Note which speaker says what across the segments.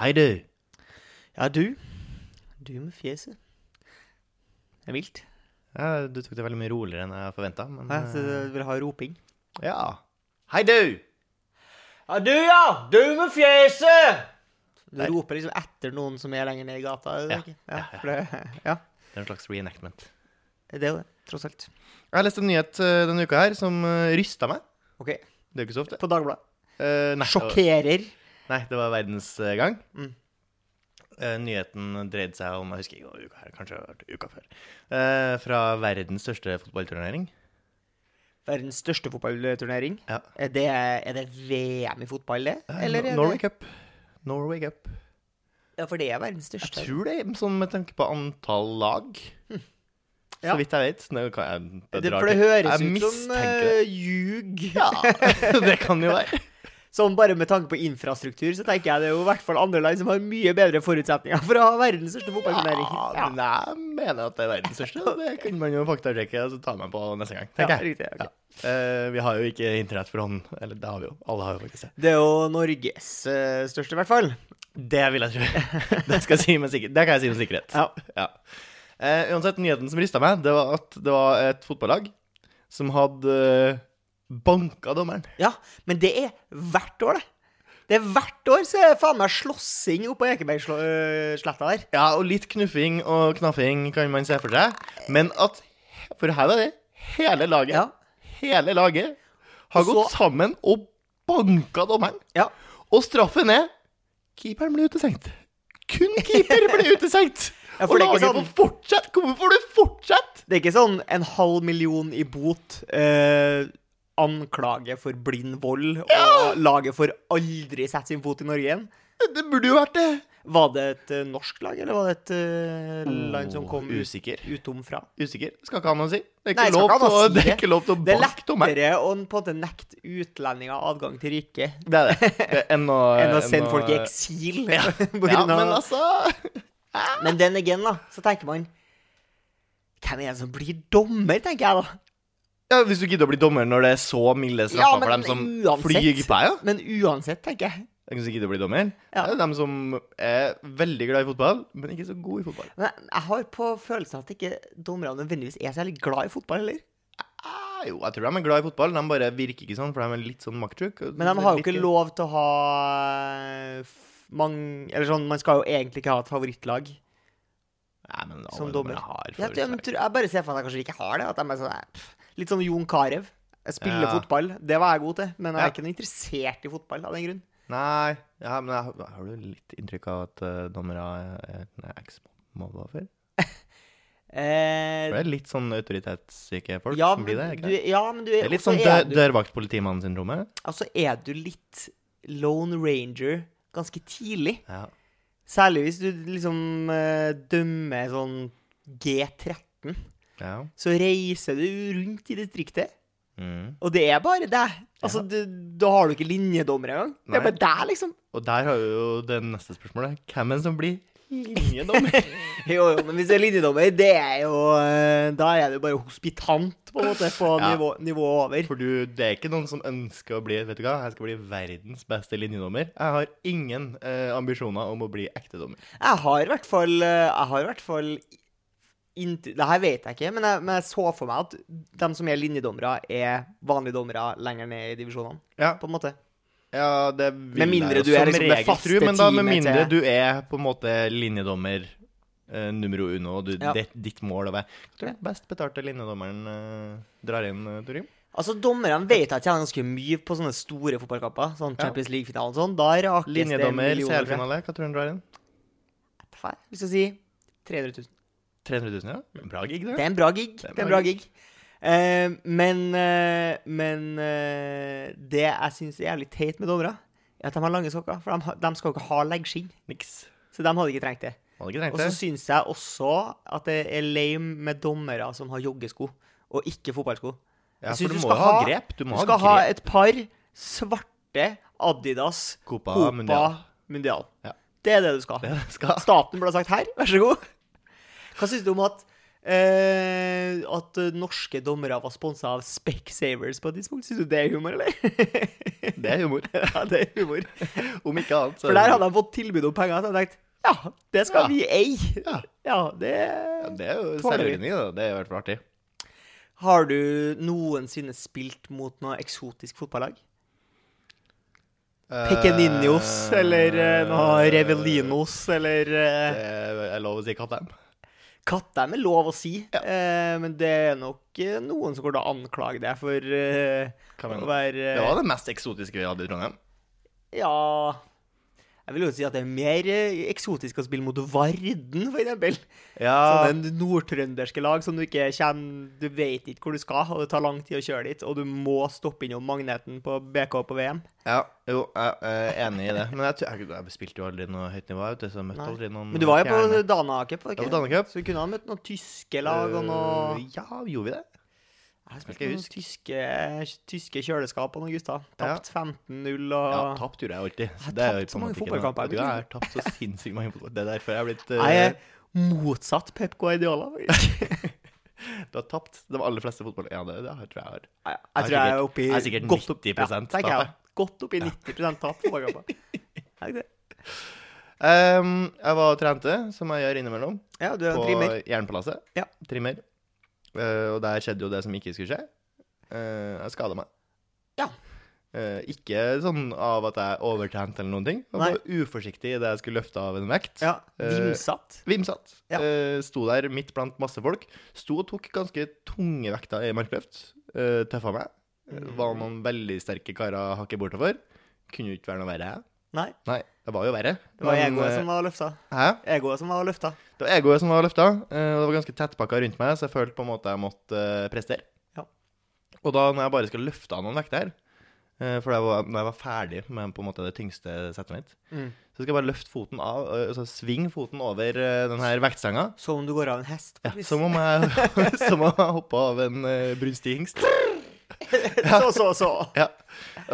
Speaker 1: Hei, du.
Speaker 2: Ja, du. Du med fjeset. Det er vilt.
Speaker 1: Ja, du tok det veldig mye roligere enn jeg forventa. Men
Speaker 2: Hæ? Så du vil ha roping?
Speaker 1: eh, ja. Hei, du!
Speaker 2: Ja, du, ja! Du med fjeset! Du
Speaker 1: Der.
Speaker 2: roper liksom etter noen som er lenger ned i gata. er det
Speaker 1: Ja.
Speaker 2: ikke? ja, for det, ja.
Speaker 1: Det er en slags reenactment.
Speaker 2: Det er jo det, tross alt.
Speaker 1: Jeg har lest en nyhet eh, denne uka her som eh, rysta meg.
Speaker 2: OK.
Speaker 1: Det er jo ikke så ofte.
Speaker 2: På Dagbladet.
Speaker 1: Eh, nei,
Speaker 2: Sjokkerer.
Speaker 1: Nei, det var verdensgang.
Speaker 2: Mm.
Speaker 1: Eh, nyheten dreide seg om Jeg husker ikke hva uka her, kanskje det var uka før. Eh, fra verdens største fotballturnering.
Speaker 2: Verdens største fotballturnering.
Speaker 1: Ja.
Speaker 2: Er det, er det VM i fotball, det?
Speaker 1: Eh,
Speaker 2: Eller er
Speaker 1: Nor- Norway
Speaker 2: det
Speaker 1: Cup. Norway Cup.
Speaker 2: Ja, for det er verdens
Speaker 1: Jeg
Speaker 2: største.
Speaker 1: tror det, sånn med tanke på antall lag.
Speaker 2: Hm. Ja.
Speaker 1: Så vidt jeg vet. Nå kan jeg,
Speaker 2: Det,
Speaker 1: drar
Speaker 2: for det
Speaker 1: til.
Speaker 2: høres
Speaker 1: jeg
Speaker 2: ut som
Speaker 1: mistenker det.
Speaker 2: eh, ljug.
Speaker 1: Ja, det kan jo være.
Speaker 2: Sånn bare med tanke på infrastruktur, så tenker jeg det er jo i hvert fall andre land som har mye bedre forutsetninger for å ha verdens største fotballturnering.
Speaker 1: Ja, men jeg mener at det er verdens største. og Det kunne man jo faktasjekke og så ta meg på neste gang.
Speaker 2: Ja,
Speaker 1: tenker jeg.
Speaker 2: riktig, ok.
Speaker 1: Ja. Eh, vi har jo ikke internett for hånden. Eller det har vi jo. Alle har jo faktisk det.
Speaker 2: Det er jo Norges eh, største, i hvert fall.
Speaker 1: Det vil jeg tro. Det, skal jeg si med sikker- det kan jeg si med sikkerhet.
Speaker 2: Ja.
Speaker 1: Ja. Eh, uansett, nyheten som rista meg, det var at det var et fotballag som hadde eh, banka dommeren.
Speaker 2: ja. Men det er hvert år, det. Det er hvert år så er det faen meg slåssing oppå Ekebergsletta der.
Speaker 1: Ja, og litt knuffing og knaffing kan man se for seg. Men at For her var det hele laget.
Speaker 2: Ja.
Speaker 1: Hele laget har
Speaker 2: Og så-
Speaker 1: gått sammen og banka dommeren.
Speaker 2: Ja.
Speaker 1: Og straffen er Keeperen ble utestengt. Kun keeper ble utestengt!
Speaker 2: Ja, for
Speaker 1: og
Speaker 2: det er ikke
Speaker 1: laget
Speaker 2: sånn-
Speaker 1: får fortsette! Hvorfor får du fortsette?
Speaker 2: Det er ikke sånn en halv million i bot, eh, anklage for blind vold og laget for aldri sette sin fot i Norge igjen.
Speaker 1: Det burde jo vært det.
Speaker 2: Var det et eh, norsk lag, eller var det et eh, land som kom ut,
Speaker 1: Usikker.
Speaker 2: utomfra?
Speaker 1: Usikker. Skal ikke ha noe å si. Det er
Speaker 2: Nei,
Speaker 1: ikke,
Speaker 2: skal
Speaker 1: lov,
Speaker 2: ikke ha
Speaker 1: til
Speaker 2: noe
Speaker 1: å,
Speaker 2: å si
Speaker 1: det er
Speaker 2: det.
Speaker 1: ikke lov til å
Speaker 2: Det er
Speaker 1: banke dommeren.
Speaker 2: lettere å på en måte nekte utlendinger adgang til riket
Speaker 1: Det er det. det er enn å,
Speaker 2: enn å sende
Speaker 1: enn
Speaker 2: folk i eksil. på
Speaker 1: Eh, Ja, men altså
Speaker 2: grunn av- Men den again, da, så tenker man Hvem er det som blir dommer, tenker jeg da.
Speaker 1: ja, Hvis du gidder å bli dommer når det er så milde straffer
Speaker 2: Ja, men
Speaker 1: for dem som
Speaker 2: uansett.
Speaker 1: flyr på deg, ja.
Speaker 2: Men uansett, tenker jeg.
Speaker 1: Jeg kan ikke gidde å bli dommer.
Speaker 2: Ja.
Speaker 1: Det er dem som er veldig glad i fotball, men ikke så god i fotball.
Speaker 2: Men jeg har på følelsen at ikke dommerne nødvendigvis er særlig glad i fotball heller.
Speaker 1: Ah, jo, jeg tror de er glad i fotball. De bare virker ikke sånn, for de er litt sånn maktsjuke.
Speaker 2: Men de har jo
Speaker 1: Litt
Speaker 2: ikke
Speaker 1: gøy.
Speaker 2: lov til å ha eh, f- mang- Eller sånn, man skal jo egentlig ikke ha et favorittlag
Speaker 1: Nei, men alle
Speaker 2: som
Speaker 1: dommere
Speaker 2: dommer.
Speaker 1: Har
Speaker 2: Jeg, jeg, men
Speaker 1: favorittlag.
Speaker 2: tror- jeg bare ser for meg at jeg kanskje ikke har det. At de er sånn, eh, pff, litt sånn Jon Carew. Jeg spiller
Speaker 1: Ja.
Speaker 2: fotball, det var jeg god til, men jeg
Speaker 1: Ja.
Speaker 2: er ikke noe interessert i fotball av den grunn.
Speaker 1: Nei, ja, men jeg, har- har du litt inntrykk av at uh, dommere er er eksmobba før? For
Speaker 2: Eh,
Speaker 1: Det er litt sånn autoritetssyke folk
Speaker 2: ja,
Speaker 1: som
Speaker 2: men
Speaker 1: blir det. ikke
Speaker 2: du, ja, men du
Speaker 1: det er litt
Speaker 2: og så
Speaker 1: sånn
Speaker 2: er
Speaker 1: dør,
Speaker 2: du-
Speaker 1: dørvaktpolitimannen-syndromet.
Speaker 2: Altså er du litt Lone Ranger ganske tidlig.
Speaker 1: Ja.
Speaker 2: Særlig hvis du liksom eh, dømmer sånn G13.
Speaker 1: ja.
Speaker 2: Så reiser du rundt i distriktet,
Speaker 1: Mm.
Speaker 2: og det er bare deg. Altså, du, da har du ikke linjedommer engang. Det er
Speaker 1: Nei.
Speaker 2: bare deg, liksom.
Speaker 1: Og der har vi jo det neste spørsmålet. Hvem er det som blir linjedommer?
Speaker 2: Jo, jo, men hvis du er linjedommer, det er jo eh, Da er du bare hospitant, på en måte, på
Speaker 1: Ja.
Speaker 2: nivå, nivå over.
Speaker 1: For du, det er ikke noen som ønsker å bli Vet du hva, jeg skal bli verdens beste linjedommer. Jeg har ingen eh, ambisjoner om å bli ekte dommer.
Speaker 2: Jeg har i hvert fall eh, Jeg har i hvert fall innty- Det her vet jeg ikke, men jeg, men jeg så for meg at de som er linjedommere, er vanlige dommere lenger ned i divisjonene,
Speaker 1: Ja.
Speaker 2: på en måte.
Speaker 1: Ja, det vil
Speaker 2: Med mindre
Speaker 1: jeg jo
Speaker 2: du er
Speaker 1: som
Speaker 2: liksom det
Speaker 1: regel
Speaker 2: faste
Speaker 1: tro, Men da med
Speaker 2: teamet til-
Speaker 1: mindre du er på en måte linjedommer eh, numero uno, og du,
Speaker 2: Ja.
Speaker 1: det, ditt mål å være Hva tror du den best betalte linjedommeren eh, drar inn, eh, Torim?
Speaker 2: Altså, dommerne vet jeg tjener ganske mye på sånne store fotballkamper, sånn
Speaker 1: Ja.
Speaker 2: Champions League-finalen og sånn. Da rakes det
Speaker 1: Linjedommer,
Speaker 2: millioner. fra-
Speaker 1: CL-finale, hva tror du han drar inn?
Speaker 2: Hva? Vi skal si 300 000.
Speaker 1: 300 000, ja? Bra gig,
Speaker 2: Det
Speaker 1: det.
Speaker 2: er en bra gig.
Speaker 1: er en
Speaker 2: Det er en
Speaker 1: bra
Speaker 2: bra gig. Eh, men eh, men eh, det jeg syns er jævlig teit med dommere, er at de har lange sokker. For de, har- de skal jo ikke ha leggskinn.
Speaker 1: Niks.
Speaker 2: Så de hadde ikke trengt det.
Speaker 1: Hadde ikke trengt
Speaker 2: Og så
Speaker 1: det.
Speaker 2: syns jeg også at det er lame med dommere som har joggesko, og ikke fotballsko.
Speaker 1: Ja,
Speaker 2: jeg
Speaker 1: for
Speaker 2: synes
Speaker 1: du
Speaker 2: du
Speaker 1: må jo
Speaker 2: skal
Speaker 1: ha
Speaker 2: ha-
Speaker 1: grep. Du
Speaker 2: Du
Speaker 1: må
Speaker 2: skal
Speaker 1: ha
Speaker 2: ha
Speaker 1: grep.
Speaker 2: et par svarte Adidas
Speaker 1: Copa
Speaker 2: Copa
Speaker 1: Mundial.
Speaker 2: Mundial.
Speaker 1: Ja.
Speaker 2: Det er det du skal.
Speaker 1: Det skal
Speaker 2: Staten burde ha sagt her, vær så god. Hva syns du om at eh, at eh, norske dommere var sponsa av Specsavers på et tidspunkt. Syns du det er humor, eller?
Speaker 1: Det er humor.
Speaker 2: ja, det er humor.
Speaker 1: Om ikke annet. så er
Speaker 2: For
Speaker 1: det
Speaker 2: der
Speaker 1: humor.
Speaker 2: hadde de fått tilbud om penger, så jeg tenkte ja, det skal
Speaker 1: Ja.
Speaker 2: vi eie.
Speaker 1: Ja.
Speaker 2: Ja, det
Speaker 1: Ja, det er jo
Speaker 2: Tåler vi.
Speaker 1: selvvinning, da. Det er i hvert fall artig.
Speaker 2: Har du noensinne spilt mot noe eksotisk fotballag? Pekeninos eller eh, noe Revelinos eller eh,
Speaker 1: Det er lov å si Kattheim.
Speaker 2: Kattheim er lov å si, eh, men det er nok eh, noen som går til å anklage deg for eh,
Speaker 1: Hva
Speaker 2: å
Speaker 1: mener du?
Speaker 2: være eh,
Speaker 1: Det var det mest eksotiske vi hadde i Trondheim.
Speaker 2: Ja Jeg vil jo si at det er mer eh, eksotisk å spille mot Varden, for eksempel.
Speaker 1: Ja,
Speaker 2: Sånne nordtrønderske lag som du ikke kommer Du vet ikke hvor du skal, og det tar lang tid å kjøre dit, og du må stoppe innom magneten på BK på VM.
Speaker 1: ja jo, jeg er enig i det. Men jeg, tror- jeg, jeg spilte jo aldri noe høyt nivå. vet du, så jeg møtte
Speaker 2: Nei.
Speaker 1: aldri noen
Speaker 2: Men du var jo på
Speaker 1: fjerne-
Speaker 2: Danacup, var
Speaker 1: Jeg var
Speaker 2: det ikke?
Speaker 1: på Danecup.
Speaker 2: Så du kunne ha møtt noen tyske lag og noe
Speaker 1: Øh, Ja, gjorde vi det?
Speaker 2: Jeg har
Speaker 1: jeg
Speaker 2: spilt
Speaker 1: ikke
Speaker 2: med noen
Speaker 1: huske.
Speaker 2: tyske, tyske kjøleskap og noen gutter. Tapt 15-0 og
Speaker 1: Ja, tapt gjorde jeg alltid. Så
Speaker 2: Jeg
Speaker 1: det er jo
Speaker 2: tapte
Speaker 1: på en måte ikke
Speaker 2: mange
Speaker 1: noe-
Speaker 2: fotballkamper, jeg
Speaker 1: Du
Speaker 2: vet
Speaker 1: har tapt så sinnssykt mange fotballkamper. Det er derfor jeg er blitt
Speaker 2: Jeg
Speaker 1: øh,
Speaker 2: er motsatt Pep Guardiola. faktisk.
Speaker 1: Du har tapt de aller fleste fotball... Ja, det, det tror jeg jeg har.
Speaker 2: Jeg,
Speaker 1: Jeg er
Speaker 2: jeg tror jeg er
Speaker 1: sikkert-
Speaker 2: oppe i
Speaker 1: jeg er sikkert
Speaker 2: godt opp-
Speaker 1: 90%
Speaker 2: ja, tenker jeg.
Speaker 1: tap,
Speaker 2: Godt opp i 90 tap. fotballkamper. Er det ikke det?
Speaker 1: Ehm, jeg var og trente, som jeg gjør innimellom,
Speaker 2: Ja, du er en
Speaker 1: på
Speaker 2: trimmer.
Speaker 1: Jernpalasset.
Speaker 2: Ja.
Speaker 1: Trimmer. Eh, og der skjedde jo det som ikke skulle skje. Eh, jeg skada meg.
Speaker 2: Ja.
Speaker 1: Eh, ikke sånn av at jeg overtrente eller noen ting. Jeg var bare uforsiktig i det jeg skulle løfte av en vekt.
Speaker 2: Ja,
Speaker 1: Eh,
Speaker 2: Vimsatt.
Speaker 1: Vimsatt.
Speaker 2: Ja.
Speaker 1: Eh, sto der midt blant masse folk. Sto og tok ganske tunge vekter i markløft. Uh, Tøffa meg. Eh,
Speaker 2: Mm.
Speaker 1: Var noen veldig sterke karer hakket bortover. Kunne jo ikke være noe verre, jeg.
Speaker 2: Nei,
Speaker 1: Nei, det var jo verre.
Speaker 2: det var
Speaker 1: men,
Speaker 2: egoet
Speaker 1: eh,
Speaker 2: som var løfta.
Speaker 1: Hæ?
Speaker 2: Egoet som var løfta.
Speaker 1: Det var egoet som var løfta, eh, og det var ganske tettpakka rundt meg, så jeg følte på en måte jeg måtte eh, prestere.
Speaker 2: Ja.
Speaker 1: Og da når jeg bare skal løfte av noen vekter her, eh, for det var, når jeg var ferdig med på en måte det tyngste settet mitt,
Speaker 2: Mm.
Speaker 1: så skal jeg bare løfte foten av, eh, altså svinge foten over eh, den her vektsenga,
Speaker 2: Som om du går av en hest. på
Speaker 1: ja,
Speaker 2: et vis.
Speaker 1: som om jeg, som om jeg hoppa av en uh, brunstig hingst.
Speaker 2: Så, så, så.
Speaker 1: Ja.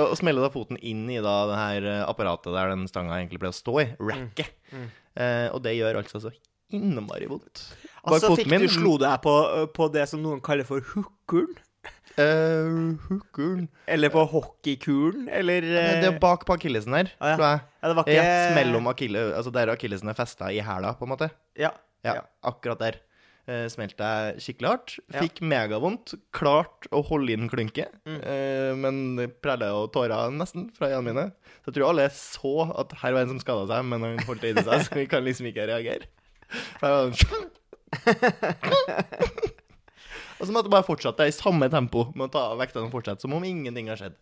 Speaker 1: Og smelle da foten inn i da det her eh, apparatet der den stanga egentlig pleier å stå i, racket.
Speaker 2: Mm.
Speaker 1: Eh, og det gjør altså så innmari vondt. Bare
Speaker 2: Altså
Speaker 1: foten
Speaker 2: fikk
Speaker 1: min-
Speaker 2: du slo deg på, eh, på det som noen kaller for hookeren.
Speaker 1: Eh, hookeren.
Speaker 2: Eller på hockeykulen, eller
Speaker 1: Nei, Det er bak på akillesen her,
Speaker 2: Ah, Eh. ja.
Speaker 1: tror jeg.
Speaker 2: ja, det var ikke
Speaker 1: Rett mellom akille, altså der akillesen er festa i hæla, på en måte.
Speaker 2: Ja.
Speaker 1: Ja,
Speaker 2: Ja.
Speaker 1: akkurat der. Eh, Smelte jeg skikkelig hardt.
Speaker 2: Ja.
Speaker 1: Fikk megavondt. Klart å holde inn klynke, eh, men prella jo tårer nesten fra øynene mine. Så jeg tror alle så at her var en som skada seg, men han holdt det inni seg, så vi kan liksom ikke reagere. For jeg var sånn Og så måtte jeg bare fortsette i samme tempo med å ta av vektene og fortsette som om ingenting har skjedd.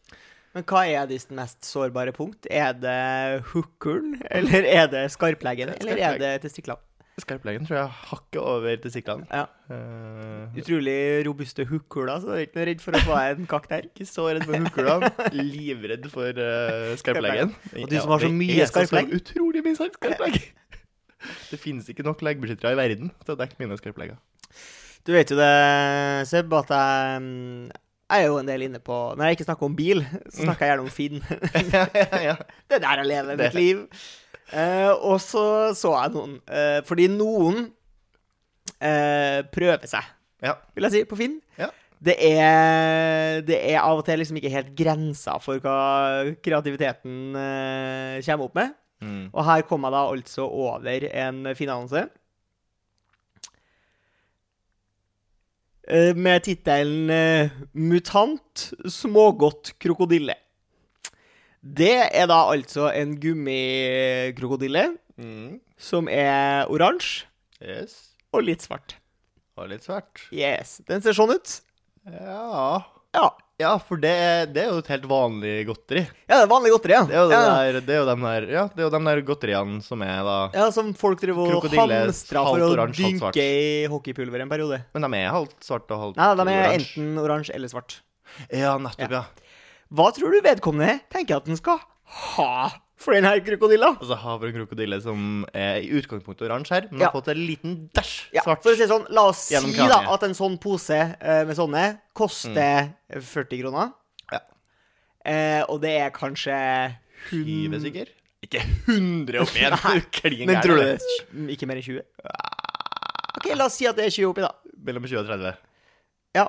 Speaker 2: Men hva er ditt mest sårbare punkt? Er det hookeren, eller er det skarpleggen,
Speaker 1: Det er
Speaker 2: eller er det testiklene?
Speaker 1: Skarplegen tror jeg hakket over til siklene.
Speaker 2: Ja.
Speaker 1: Eh,
Speaker 2: Utrolig robuste hookhuler, så du er ikke noe redd for å få deg en kakk der.
Speaker 1: ikke så redd for hukula, livredd for eh, skarplegen.
Speaker 2: Og du som har så
Speaker 1: Ja, det
Speaker 2: mye
Speaker 1: er så- så
Speaker 2: skarplegg.
Speaker 1: Utrolig mye skarp- skarplegg. Det finnes ikke nok leggbeskyttere i verden til å dekke mine skarplegger.
Speaker 2: Du vet jo det, Seb, at jeg mm, jeg er jo en del inne på Når jeg ikke snakker om bil, så snakker jeg gjerne om Finn.
Speaker 1: ja, ja, ja.
Speaker 2: Det er der jeg lever
Speaker 1: Det-
Speaker 2: mitt liv. Eh, og så så jeg noen. Eh, fordi noen eh, prøver seg.
Speaker 1: ja.
Speaker 2: vil jeg si, på Finn.
Speaker 1: Ja.
Speaker 2: Det, er, det er av og til liksom ikke helt grensa for hva kreativiteten eh, kommer opp med.
Speaker 1: Mm.
Speaker 2: Og her kom jeg da altså over en finanse. Eh, Med tittelen eh, 'Mutant smågodt krokodille'. Det er da altså en gummikrokodille
Speaker 1: Mm.
Speaker 2: som er oransje
Speaker 1: Yes.
Speaker 2: og litt svart.
Speaker 1: Og litt svært.
Speaker 2: Yes, Den ser sånn ut.
Speaker 1: Ja.
Speaker 2: Ja,
Speaker 1: Ja, for det, er- det er jo et helt vanlig godteri.
Speaker 2: Ja, det er vanlig godteri, ja.
Speaker 1: Det er jo, det
Speaker 2: ja.
Speaker 1: der, det er jo de der, ja, det er jo de der godteriene som er da
Speaker 2: ja, som folk driver og
Speaker 1: Krokodille,
Speaker 2: hamstrer
Speaker 1: halvt
Speaker 2: for
Speaker 1: oransje,
Speaker 2: å
Speaker 1: halvt svart.
Speaker 2: dynke i hockeypulver en periode.
Speaker 1: Men de er halvt svarte og halvt
Speaker 2: Nei, de er
Speaker 1: oransje.
Speaker 2: enten oransje eller svart.
Speaker 1: Ja, nettopp, ja.
Speaker 2: Hva tror du vedkommende tenker at den skal ha for den her krokodilla?
Speaker 1: Altså havre og krokodille som er i utgangspunktet oransje her, men
Speaker 2: Ja.
Speaker 1: har fått en liten dæsj
Speaker 2: Ja,
Speaker 1: svart.
Speaker 2: for å si det sånn, La oss si
Speaker 1: Gjennom
Speaker 2: da
Speaker 1: kraniet.
Speaker 2: at en sånn pose eh, med sånne koster 40 kroner.
Speaker 1: Ja.
Speaker 2: Eh, og det er kanskje hun...
Speaker 1: 20 stykker? Ikke 100 oppi en, du klin
Speaker 2: Men
Speaker 1: gæren,
Speaker 2: tror du Ah.
Speaker 1: eller?
Speaker 2: det er ikke mer enn 20? OK, OK, la oss si at det er 20 oppi, da.
Speaker 1: Mellom 20 og 30.
Speaker 2: Ja.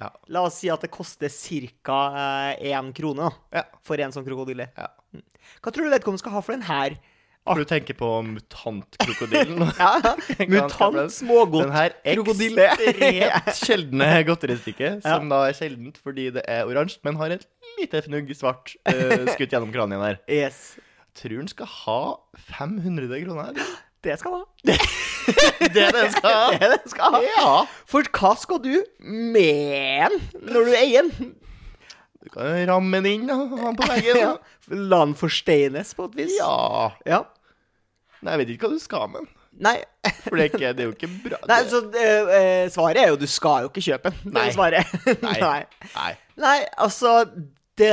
Speaker 1: Ja.
Speaker 2: La oss si at det koster ca. én krone da,
Speaker 1: Ja.
Speaker 2: for en sånn krokodille.
Speaker 1: Ja.
Speaker 2: Mm. Hva tror du vedkommende skal ha for den her?
Speaker 1: For du tenker på mutantkrokodillen?
Speaker 2: Ja,
Speaker 1: Den-
Speaker 2: Mutant smågodt.
Speaker 1: Den her
Speaker 2: krokodille.
Speaker 1: ekstremt sjeldne godteristykket,
Speaker 2: Ja.
Speaker 1: som da er sjeldent fordi det er oransje, men har et lite fnugg svart eh, skutt gjennom kranien der.
Speaker 2: Yes.
Speaker 1: Tror den skal ha 500 kroner. eller?
Speaker 2: Det skal han ha. Det
Speaker 1: Det er det den skal ha!
Speaker 2: er det den skal ha.
Speaker 1: Ja!
Speaker 2: For hva skal du med den når du eier den?
Speaker 1: Du kan jo ramme den inn, da. Ha den på
Speaker 2: Ja.
Speaker 1: veggen.
Speaker 2: La den forsteines på et vis?
Speaker 1: Ja.
Speaker 2: Ja.
Speaker 1: Nei, jeg vet ikke hva du skal med den.
Speaker 2: Nei,
Speaker 1: For det er, ikke, det er jo ikke bra.
Speaker 2: Nei
Speaker 1: det-
Speaker 2: så eh, eh, svaret er jo du skal jo ikke kjøpe den. Det
Speaker 1: Nei.
Speaker 2: er svaret.
Speaker 1: Nei.
Speaker 2: Nei.
Speaker 1: Nei.
Speaker 2: Nei, altså det,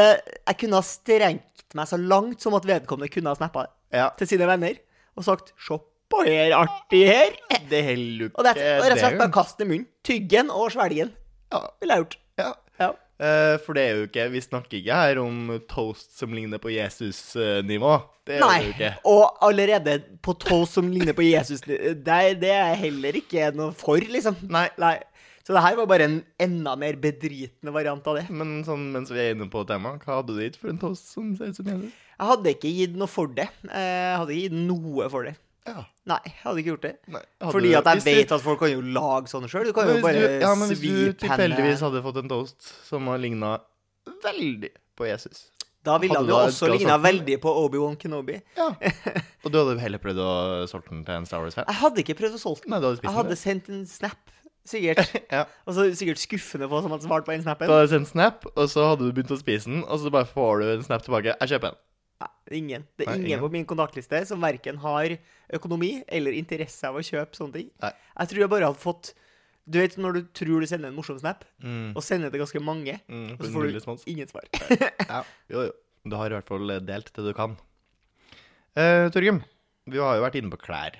Speaker 2: Jeg kunne ha strengt meg så langt som at vedkommende kunne ha snappa det
Speaker 1: Ja.
Speaker 2: til sine venner og sagt 'Se på her, artig her'.
Speaker 1: Det holder jo ikke.
Speaker 2: Og det er og rett og slett
Speaker 1: det.
Speaker 2: bare kaste munnen. Tygge den og svelge den.
Speaker 1: Ja.
Speaker 2: Ville jeg gjort.
Speaker 1: ja.
Speaker 2: Ja.
Speaker 1: Eh, for det er jo ikke Vi snakker ikke her om toast som ligner på Jesus-nivå. Det gjør vi jo
Speaker 2: Nei.
Speaker 1: ikke.
Speaker 2: Og allerede på toast som ligner på Jesus, det, det er jeg heller ikke noe for, liksom.
Speaker 1: Nei.
Speaker 2: Så det her var bare en enda mer bedritende variant av det.
Speaker 1: Men sånn, mens vi er inne på temaet, hva hadde du gitt for en toast som ser ut som Jesus?
Speaker 2: Jeg hadde ikke gitt noe for det. Eh, Jeg hadde ikke gitt noe for det.
Speaker 1: Ja.
Speaker 2: Nei, jeg hadde ikke gjort det.
Speaker 1: Nei, hadde
Speaker 2: Fordi
Speaker 1: du-
Speaker 2: at jeg
Speaker 1: hvis du-
Speaker 2: vet at folk kan jo lage sånne sjøl. Du kan
Speaker 1: Men hvis
Speaker 2: jo bare
Speaker 1: du, ja, men hvis du
Speaker 2: svipe
Speaker 1: tilfeldigvis
Speaker 2: henne.
Speaker 1: hadde fått en toast som har ligna veldig på Jesus
Speaker 2: Da ville
Speaker 1: hadde
Speaker 2: han
Speaker 1: du
Speaker 2: jo
Speaker 1: da
Speaker 2: også
Speaker 1: ønsket å
Speaker 2: ligna
Speaker 1: sagt noe?
Speaker 2: veldig på Obi-Wan Kenobi.
Speaker 1: Ja. Og du hadde heller prøvd å solge den til en Star Wars-fan?
Speaker 2: Jeg hadde ikke prøvd å solge den.
Speaker 1: Nei, du hadde spist
Speaker 2: Jeg
Speaker 1: den,
Speaker 2: hadde sendt en snap, sikkert.
Speaker 1: du. Ja.
Speaker 2: Og så sikkert skuffende på som han svarte på
Speaker 1: Du
Speaker 2: den snappen.
Speaker 1: hadde sendt snap, og så hadde du begynt å spise den, og så bare får du en snap tilbake. Jeg kjøper den.
Speaker 2: Nei, ingen. Det
Speaker 1: Nei,
Speaker 2: er ingen
Speaker 1: ingen.
Speaker 2: på min kontaktliste som verken har økonomi eller interesse av å kjøpe sånne ting.
Speaker 1: Nei.
Speaker 2: Jeg tror jeg bare hadde fått Du vet når du tror du sender en morsom snap, og sender til ganske mange,
Speaker 1: Mm,
Speaker 2: Mm. og
Speaker 1: for
Speaker 2: så
Speaker 1: en Mm.
Speaker 2: får
Speaker 1: null
Speaker 2: du
Speaker 1: respons.
Speaker 2: ingen svar.
Speaker 1: Ja. Jo, jo. Du har i hvert fall delt det du kan. Eh, Torgrim, vi har jo vært inne på klær.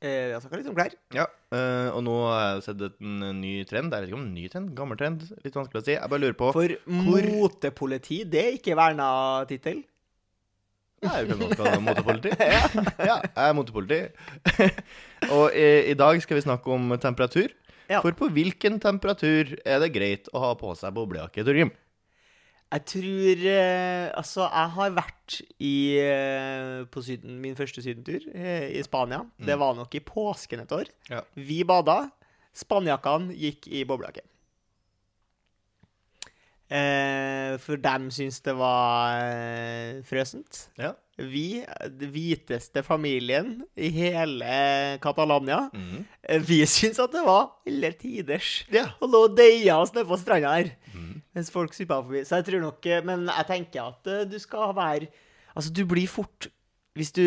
Speaker 2: Eh, Jeg snakka litt om klær.
Speaker 1: Ja. eh, og nå har jeg sett et- en ny trend. Jeg vet ikke om ny trend, gammel trend. Litt vanskelig å si. Jeg bare lurer på
Speaker 2: For motepoliti, det er ikke verna tittel.
Speaker 1: Nei, jeg er jo ikke noe som skal motepoliti. ja, jeg er motepoliti. og i, i dag skal vi snakke om temperatur.
Speaker 2: Ja.
Speaker 1: For på hvilken temperatur er det greit å ha på seg boblejakke, Torgrim?
Speaker 2: Jeg tror eh, Altså, jeg har vært i, eh, på syden, min første sydentur eh, i Spania. Det var nok i påsken et år.
Speaker 1: Ja.
Speaker 2: Vi bada. Spanjakkene gikk i boblejakke. Eh, for dem syns det var eh, frøsent.
Speaker 1: Ja.
Speaker 2: Vi, den hviteste familien i hele Catalonia,
Speaker 1: Mhm.
Speaker 2: Eh, Vi syntes at det var ille tiders.
Speaker 1: Ja. Mhm.
Speaker 2: Og lå og deia oss nede på stranda her. Mens folk suppa forbi. Så jeg tror nok eh, Men jeg tenker at eh, du skal være Altså, du blir fort Hvis du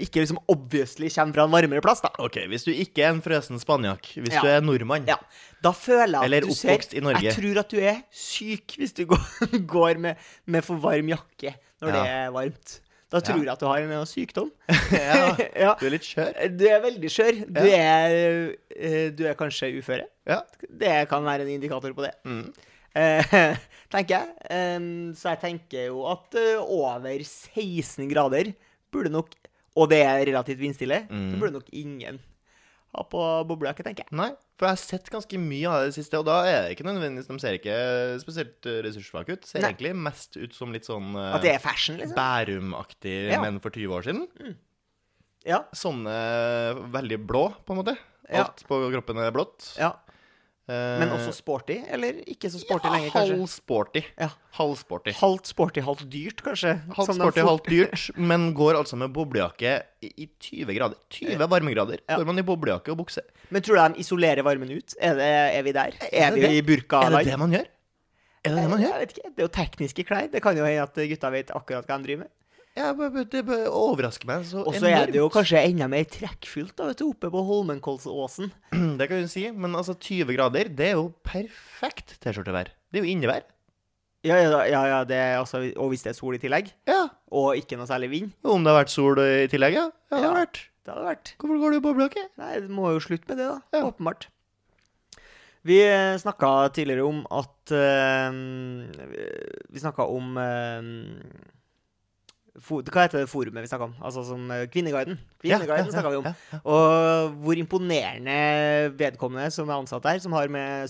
Speaker 2: ikke liksom obviously kommer fra en varmere plass, da.
Speaker 1: Ok, hvis du ikke er en frøsen spaniak, hvis
Speaker 2: Ja.
Speaker 1: du er nordmann
Speaker 2: Ja. Da føler jeg at
Speaker 1: Eller
Speaker 2: du
Speaker 1: oppvokst i Norge.
Speaker 2: Jeg tror at du er syk hvis du går, går med, med for varm jakke når
Speaker 1: Ja.
Speaker 2: det er varmt. Da tror jeg at du har en eller annen sykdom.
Speaker 1: Ja.
Speaker 2: ja.
Speaker 1: Du er litt skjør.
Speaker 2: Du er veldig skjør. Du, er, eh, du er kanskje uføre.
Speaker 1: Ja.
Speaker 2: Det kan være en indikator på det.
Speaker 1: Mm.
Speaker 2: Eh, tenker jeg. Em, så jeg tenker jo at eh, over 16 grader burde nok Og det er relativt vindstille.
Speaker 1: Mm.
Speaker 2: Så burde nok ingen ha på boblejakke, tenker jeg.
Speaker 1: Nei, for jeg har sett ganske mye av det siste, og da er det ikke nødvendigvis De ser ikke spesielt eh, ressurssvake ut. Ser
Speaker 2: Nei.
Speaker 1: egentlig mest ut som litt sånn eh,
Speaker 2: At det er fashion, liksom.
Speaker 1: Bærum-aktig
Speaker 2: Ja.
Speaker 1: menn for 20 år siden.
Speaker 2: Ja.
Speaker 1: Sånne eh, veldig blå, på en måte.
Speaker 2: Ja.
Speaker 1: Alt på kroppen er blått.
Speaker 2: ja.
Speaker 1: Eh,
Speaker 2: Men også sporty, eller ikke så sporty lenger,
Speaker 1: Halv
Speaker 2: kanskje.
Speaker 1: sporty.
Speaker 2: Ja.
Speaker 1: Halv sporty.
Speaker 2: Halvt sporty, halvt dyrt, kanskje.
Speaker 1: Halvt
Speaker 2: Som de
Speaker 1: sporty,
Speaker 2: fort-
Speaker 1: halvt dyrt, men går altså med boblejakke i i 20 grader. 20 varmegrader.
Speaker 2: Ja.
Speaker 1: Går man i boblejakke og bukse.
Speaker 2: Men tror du de isolerer varmen ut? Er, det, er vi der? Er,
Speaker 1: det
Speaker 2: vi
Speaker 1: det?
Speaker 2: i burka?
Speaker 1: Er det det man gjør? Er det det man gjør?
Speaker 2: Jeg vet ikke. Det er jo tekniske klær. Det kan jo hende at gutta vet akkurat hva de driver med.
Speaker 1: Ja, b- b- det b- overrasker meg så
Speaker 2: Og
Speaker 1: enormt.
Speaker 2: så er det jo kanskje enda mer trekkfullt da, vet du, oppe på Holmenkollsåsen.
Speaker 1: Det kan du si, men altså 20 grader, det er jo perfekt T-skjortevær. Det er jo innevær.
Speaker 2: Ja, ja, ja, ja det er altså, og hvis det er sol i tillegg,
Speaker 1: Ja.
Speaker 2: og ikke noe særlig vind,
Speaker 1: Og om det har vært sol eh, i tillegg, ja. Ja, det har
Speaker 2: Ja.
Speaker 1: vært.
Speaker 2: det hadde vært
Speaker 1: Hvorfor går du i boblejakke?
Speaker 2: Nei, det må jo slutte med det, da.
Speaker 1: Ja.
Speaker 2: Åpenbart. Vi snakka tidligere om at eh, Vi snakka om eh, for, Hva heter det forumet vi snakka om? Altså som eh, Kvinneguiden.
Speaker 1: Ja, ja,
Speaker 2: Kvinneguiden snakket vi om.
Speaker 1: ja, ja.
Speaker 2: Og hvor imponerende vedkommende som er ansatt der, som har med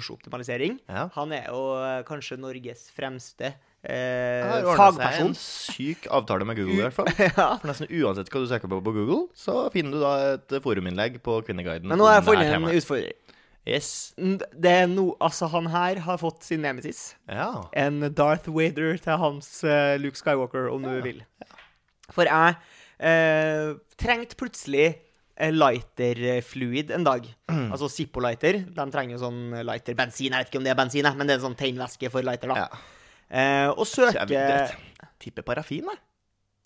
Speaker 2: søkeordsoptimalisering
Speaker 1: Ja.
Speaker 2: Han er jo eh, kanskje Norges fremste eh,
Speaker 1: Her ordner det seg en
Speaker 2: fagperson.
Speaker 1: syk avtale med Google, i hvert fall.
Speaker 2: ja.
Speaker 1: For nesten uansett hva du søker på på Google, så finner du da et foruminnlegg på Kvinneguiden.
Speaker 2: Men nå har jeg
Speaker 1: om det
Speaker 2: funnet
Speaker 1: her
Speaker 2: en
Speaker 1: temaet.
Speaker 2: utfordrer.
Speaker 1: Yes.
Speaker 2: N- Det er no, altså, han her har fått sin nemesis.
Speaker 1: Ja.
Speaker 2: En Darth Vader til hans eh, Luke Skywalker, om du vil. For jeg eh, trengte plutselig eh, lighter-fluid en dag.
Speaker 1: Mm.
Speaker 2: Altså Zippo-lighter. De trenger jo sånn lighter-bensin. Jeg vet ikke om det er bensin, jeg, men det er en sånn tennvæske for lighter, da.
Speaker 1: ja.
Speaker 2: Eh, og
Speaker 1: Så jeg vil
Speaker 2: søke
Speaker 1: jeg tipper parafin, jeg.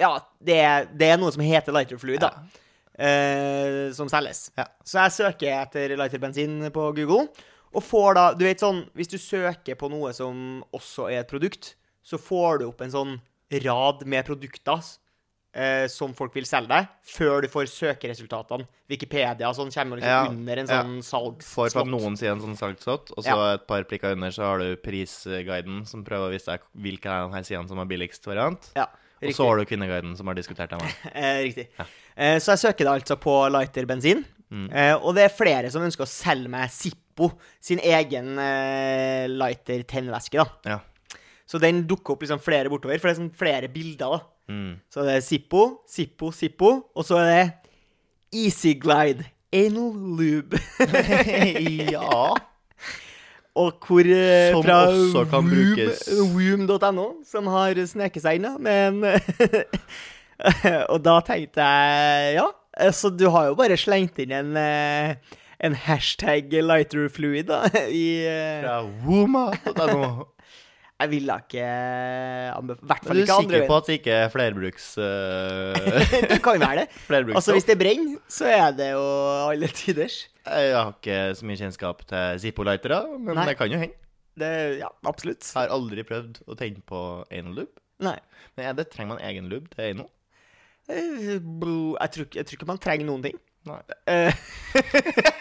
Speaker 2: Ja, det er, det er noe som heter lighter fluid,
Speaker 1: Ja.
Speaker 2: da. Eh, som selges.
Speaker 1: Ja.
Speaker 2: Så jeg søker etter lighterbensin på Google, og får da Du vet sånn, hvis du søker på noe som også er et produkt, så får du opp en sånn rad med produkter s- eh, som folk vil selge deg, før du får søkeresultatene. Wikipedia og sånn kommer liksom
Speaker 1: Ja,
Speaker 2: under en
Speaker 1: ja.
Speaker 2: sånn
Speaker 1: For
Speaker 2: salgsslott.
Speaker 1: at noen sier en sånn salgslott, og så et par prikker under, så har du prisguiden, som prøver å vise deg hvilke av de her sidene som har billigst variant.
Speaker 2: Ja,
Speaker 1: Og
Speaker 2: riktig.
Speaker 1: så har du Kvinneguiden, som har diskutert dem. her.
Speaker 2: Eh, riktig. Eh, så jeg søker da altså på lighter bensin.
Speaker 1: Mm.
Speaker 2: Eh, og det er flere som ønsker å selge meg Zippo sin egen eh, lighter tennvæske. da.
Speaker 1: Ja.
Speaker 2: Så den dukker opp liksom flere bortover, for det er sånn flere bilder. da.
Speaker 1: Mm.
Speaker 2: Så det er Zippo, Zippo, Zippo, og så er det Easy Glide. Anal lube.
Speaker 1: ja.
Speaker 2: og hvor eh,
Speaker 1: Som
Speaker 2: fra
Speaker 1: også kan
Speaker 2: Woom-
Speaker 1: brukes.
Speaker 2: Woom.no, som har sneket seg inn, da. Men Og da tenkte jeg Ja, så du har jo bare slengt inn en, eh, en hashtag lighterfluid, da, i eh,
Speaker 1: Fra woma.no.
Speaker 2: Jeg ville ikke anbefale I hvert
Speaker 1: Men
Speaker 2: fall
Speaker 1: du er
Speaker 2: ikke andre
Speaker 1: sikker på
Speaker 2: veien.
Speaker 1: at det ikke er flerbruks... øh,
Speaker 2: Det kan jo være det.
Speaker 1: flerbruksstoff?
Speaker 2: Altså, hvis det brenner, så er det jo alle tiders.
Speaker 1: Jeg har ikke så mye kjennskap til Zippo-lightere, men
Speaker 2: Nei.
Speaker 1: det kan jo hende.
Speaker 2: Det, ja, absolutt.
Speaker 1: Jeg har aldri prøvd å tenne på anal-lube.
Speaker 2: Nei.
Speaker 1: Men er det, trenger man egen lube til anal?
Speaker 2: Eh, bro, Jeg tror, ikke- jeg tror ikke man trenger noen ting.
Speaker 1: Nei.
Speaker 2: Eh.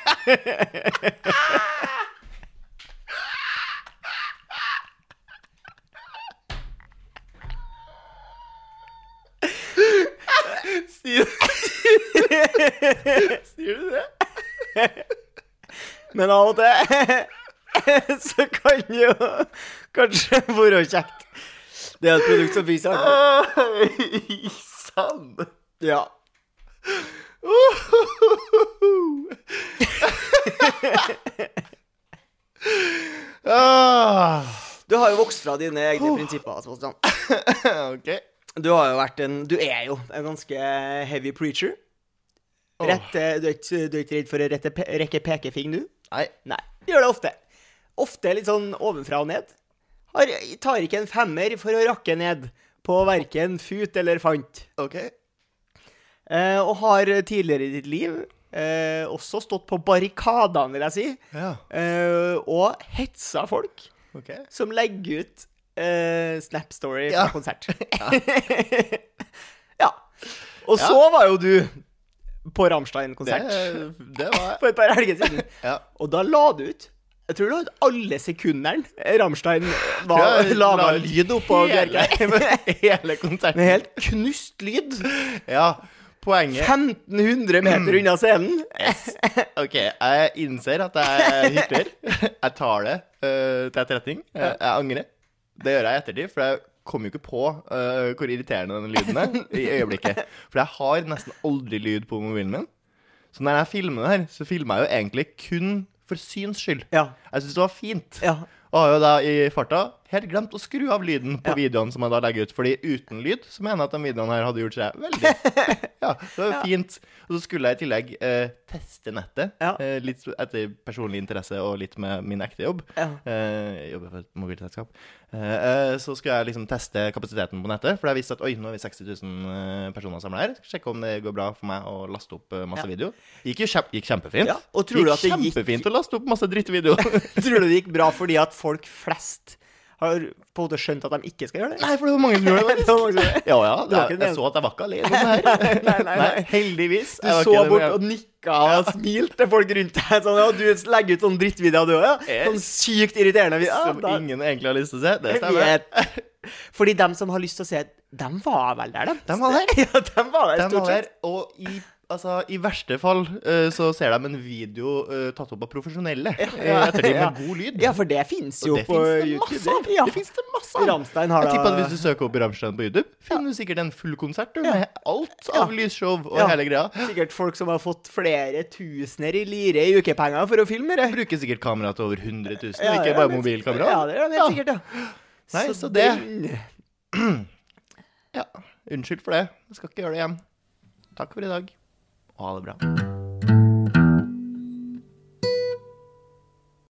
Speaker 1: Sier Sier du det?
Speaker 2: Men av og til så kan det jo kanskje være kjekt. Det er et produkt som viser alt.
Speaker 1: Oi, sann!
Speaker 2: Ja.
Speaker 1: Ah,
Speaker 2: Du har jo vokst fra dine egne prinsipper. Sebastian.
Speaker 1: OK.
Speaker 2: Du har jo vært en Du er jo en ganske heavy preacher. Rett, eh, du, er ikke, du er ikke redd for å rette, pe- rekke pekefing, du?
Speaker 1: Nei.
Speaker 2: Nei. Gjør det ofte. Ofte litt sånn ovenfra og ned. Har, tar ikke en femmer for å rakke ned på verken fut eller fant.
Speaker 1: OK.
Speaker 2: Eh, og har tidligere i ditt liv eh, også stått på barrikadene, vil jeg si,
Speaker 1: Ja.
Speaker 2: eh, og hetsa folk
Speaker 1: OK.
Speaker 2: som legger ut eh, Snap Story fra
Speaker 1: Ja.
Speaker 2: konsert. Ja. Og så var jo du på
Speaker 1: Det,
Speaker 2: Ramstein-konsert
Speaker 1: Eh, det var
Speaker 2: for et par helger siden.
Speaker 1: Ja.
Speaker 2: Og da la du ut Jeg tror du la ut alle sekundene Ramstein
Speaker 1: Ja,
Speaker 2: var,
Speaker 1: jeg
Speaker 2: la
Speaker 1: la
Speaker 2: lyd oppå
Speaker 1: hele-
Speaker 2: Bjerkreim.
Speaker 1: Hele konserten.
Speaker 2: Med helt knust lyd.
Speaker 1: Ja. Poenget
Speaker 2: 1500 meter unna scenen.
Speaker 1: OK, jeg innser at jeg er hykler. Jeg tar det eh, til etterretning. Jeg, jeg angrer. Det gjør jeg i ettertid, for jeg kom jo ikke på eh, hvor irriterende den lyden er i øyeblikket. For jeg har nesten aldri lyd på mobilen min. Så når jeg filmer det her, så filmer jeg jo egentlig kun for syns skyld.
Speaker 2: Ja.
Speaker 1: Jeg syns det var fint.
Speaker 2: ja.
Speaker 1: Og har jo da i farta helt glemt å skru av lyden på
Speaker 2: Ja.
Speaker 1: videoene som jeg da legger ut. Fordi uten lyd så mener jeg at de videoene her hadde gjort seg veldig Ja, det var fint. Og så skulle jeg i tillegg eh, teste nettet.
Speaker 2: Ja.
Speaker 1: Eh, litt etter personlig interesse og litt med min ekte jobb.
Speaker 2: Ja.
Speaker 1: Eh, jeg jobber for et mobilselskap. Eh, eh, så skulle jeg liksom teste kapasiteten på nettet. For jeg visste at oi, nå er vi 60 000 eh, personer samla her. Sjekke om det går bra for meg å laste opp eh, masse
Speaker 2: Ja.
Speaker 1: video. Gikk jo kjempe, gikk kjempefint.
Speaker 2: Ja, og tror du at det gikk-
Speaker 1: kjempefint å laste opp masse drittvideo.
Speaker 2: Tror du det gikk bra fordi at folk flest har på en måte skjønt at de ikke skal gjøre det?
Speaker 1: Nei, for det var mange som gjorde det.
Speaker 2: Det var mange som gjorde det.
Speaker 1: Ja, ja.
Speaker 2: Du var
Speaker 1: Jeg,
Speaker 2: ikke den
Speaker 1: jeg
Speaker 2: eneste.
Speaker 1: så at jeg var ikke alene om det her.
Speaker 2: Nei, nei, nei.
Speaker 1: heldigvis.
Speaker 2: Du
Speaker 1: Jeg var
Speaker 2: så
Speaker 1: ikke det, men
Speaker 2: bort
Speaker 1: jeg-
Speaker 2: og nikka og smilte til folk rundt deg. Sånn, ja, du legger ut sånn drittvideo, du òg? Ja. Sånn sykt irriterende. vi- Ja,
Speaker 1: som
Speaker 2: da,
Speaker 1: ingen egentlig har lyst til å se. Det
Speaker 2: jeg
Speaker 1: stemmer.
Speaker 2: vet. Fordi dem som har lyst til å se Dem var vel der, dem.
Speaker 1: Dem var der.
Speaker 2: Ja, dem var der,
Speaker 1: De var
Speaker 2: stort
Speaker 1: der,
Speaker 2: sett.
Speaker 1: og i, altså, i verste fall eh, så ser de en video eh, tatt opp av profesjonelle eh, etter det
Speaker 2: ja.
Speaker 1: med god lyd.
Speaker 2: Ja, for det fins jo
Speaker 1: det
Speaker 2: på
Speaker 1: finnes det
Speaker 2: YouTube.
Speaker 1: masse av.
Speaker 2: Ja.
Speaker 1: Det finnes det masse av.
Speaker 2: Rammstein har
Speaker 1: Jeg tipper at
Speaker 2: da
Speaker 1: hvis du søker opp Rammstein på YouTube, finner du sikkert en full konsert du,
Speaker 2: Ja.
Speaker 1: med alt av lysshow og
Speaker 2: Ja.
Speaker 1: hele greia.
Speaker 2: sikkert folk som har fått flere tusener i lire i ukepenger for å filme det.
Speaker 1: Bruker sikkert kamera til over 100 000,
Speaker 2: Ja,
Speaker 1: ikke
Speaker 2: ja,
Speaker 1: bare
Speaker 2: men-
Speaker 1: mobilkamera.
Speaker 2: Ja, det er det helt
Speaker 1: Ja.
Speaker 2: sikkert, ja.
Speaker 1: Nei, så det-
Speaker 2: den-
Speaker 1: Ja, unnskyld for det. Jeg skal ikke gjøre det igjen. Takk for i dag, og ha det bra.